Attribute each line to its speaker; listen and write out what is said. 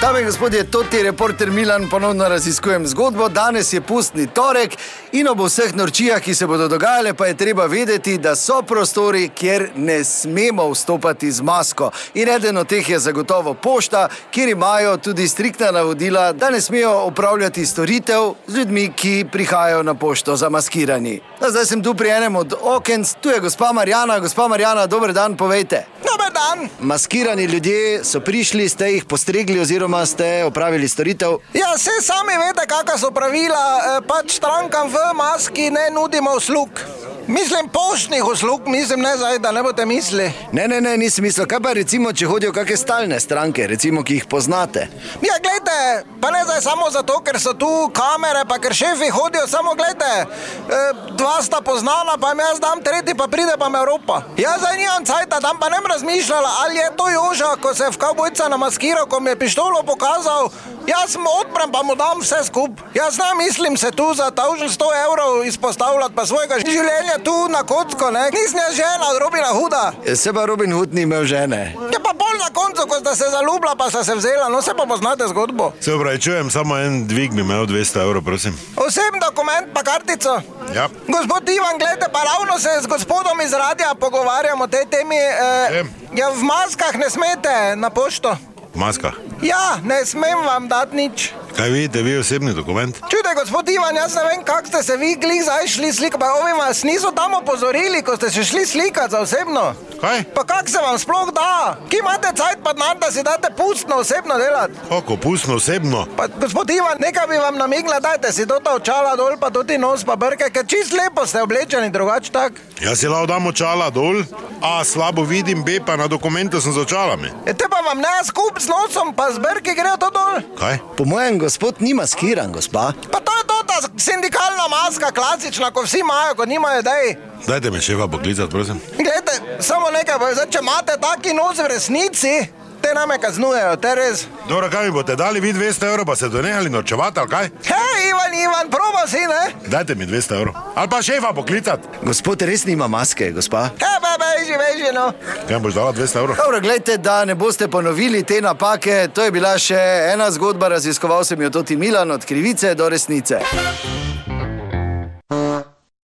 Speaker 1: Dame in gospodje, to ti reporter Milan ponovno raziskujem zgodbo. Danes je pustni torek in ob vseh norčijah, ki se bodo dogajale, pa je treba vedeti, da so prostori, kjer ne smemo vstopati z masko. In eden od teh je zagotovo pošta, kjer imajo tudi striktna navodila, da ne smejo opravljati storitev z ljudmi, ki prihajajo na pošto zamaskirani. A Zdaj sem tu pri enem od okenc, tu je gospa Marjana. Gospa Marjana, dober dan, povejte.
Speaker 2: Dober dan.
Speaker 1: Maskirani ljudje so prišli, ste jih postregli, oziroma ste opravili storitev.
Speaker 2: Ja, vse sami veste, kakšna so pravila, eh, pač strankam v maski ne nudimo uslug. Mislim poštnih uslug, mislim ne zdaj, da ne boste mislili.
Speaker 1: Ne, ne, ne, nisem mislil. Kaj pa recimo, če hodijo kakšne stalne stranke, recimo, ki jih poznate?
Speaker 2: Ja, gledajte, pa ne zdaj samo zato, ker so tu kamere, pa ker šefi hodijo, samo gledajte, eh, dva sta poznana, pa jim jaz dam tretji, pa pride pa mi Evropa. Jaz zdaj nimam cajta, tam pa ne bi razmišljala, ali je to Joža, ko se je v kavbojca namaskiral, ko mi je pištolo pokazal, jaz mu odprem pa mu dam vse skup. Jaz ne mislim se tu za 1100 evrov izpostavljati, pa svojega življenja tu na kocko, ne. Nisem jaz žena, robila huda.
Speaker 1: Se Eh, pa Robin Hood ni imel žene.
Speaker 2: Je pa bolj na koncu, ko sta se zaljubila, pa sta se vzela, no se pa poznate zgodbo.
Speaker 3: Se upravičujem, samo en dvig bi imel 200 evrov, prosim.
Speaker 2: Osebni dokument, pa kartico.
Speaker 3: Ja.
Speaker 2: Gospod Ivan, gledajte, pa ravno se z gospodom iz radia pogovarjamo o tej temi. Eh,
Speaker 3: Vem.
Speaker 2: ja, v maskah ne smete na pošto.
Speaker 3: Maska.
Speaker 2: Ja, ne smem vam dati nič.
Speaker 3: Kaj vidite, vi osebni dokument?
Speaker 2: Čudaj, gospod Ivan, jaz ne vem, kako ste se vi glih zdaj šli slikati, pa ovi vas niso tam opozorili, ko ste se šli slikati za osebno.
Speaker 3: Kaj?
Speaker 2: Pa kak se vam sploh da? Ki imate cajt pa denar, da si date pustno osebno delati?
Speaker 3: Kako pustno osebno?
Speaker 2: Pa, gospod Ivan, nekaj bi vam namignila, dajte si to ta očala dol, pa tudi nos, pa brke, ker čist lepo ste oblečeni, drugače tak.
Speaker 3: Jaz si lao dam očala dol, a slabo vidim, b pa na dokumente sem z očalami.
Speaker 2: E te pa vam ne skup s nosom, pa z brki gre to dol.
Speaker 3: Kaj?
Speaker 1: Po mojem, gospod ni maskiran, gospa.
Speaker 2: Pa to je to ta sindikalna maska, klasična, ko vsi imajo, ko nimajo idej.
Speaker 3: Dajte me šefa poklicati, prosim.
Speaker 2: Glejte, samo nekaj, pa zdaj, če imate taki nos v resnici, te name kaznujejo, te res.
Speaker 3: Dobro, kaj mi boste dali, vi 200 evrov, pa se donehali norčevati, ali kaj?
Speaker 2: Hej, Ivan, Ivan, proba si, ne?
Speaker 3: Dajte mi 200 evrov. Ali pa šefa poklicati.
Speaker 1: Gospod res nima maske, gospa.
Speaker 2: Hej, be, beži, beži, no.
Speaker 3: Kaj mi boš dala 200 evrov?
Speaker 1: Dobro, gledajte, da ne boste ponovili te napake. To je bila še ena zgodba, raziskoval sem jo tudi Milan, od krivice do resnice.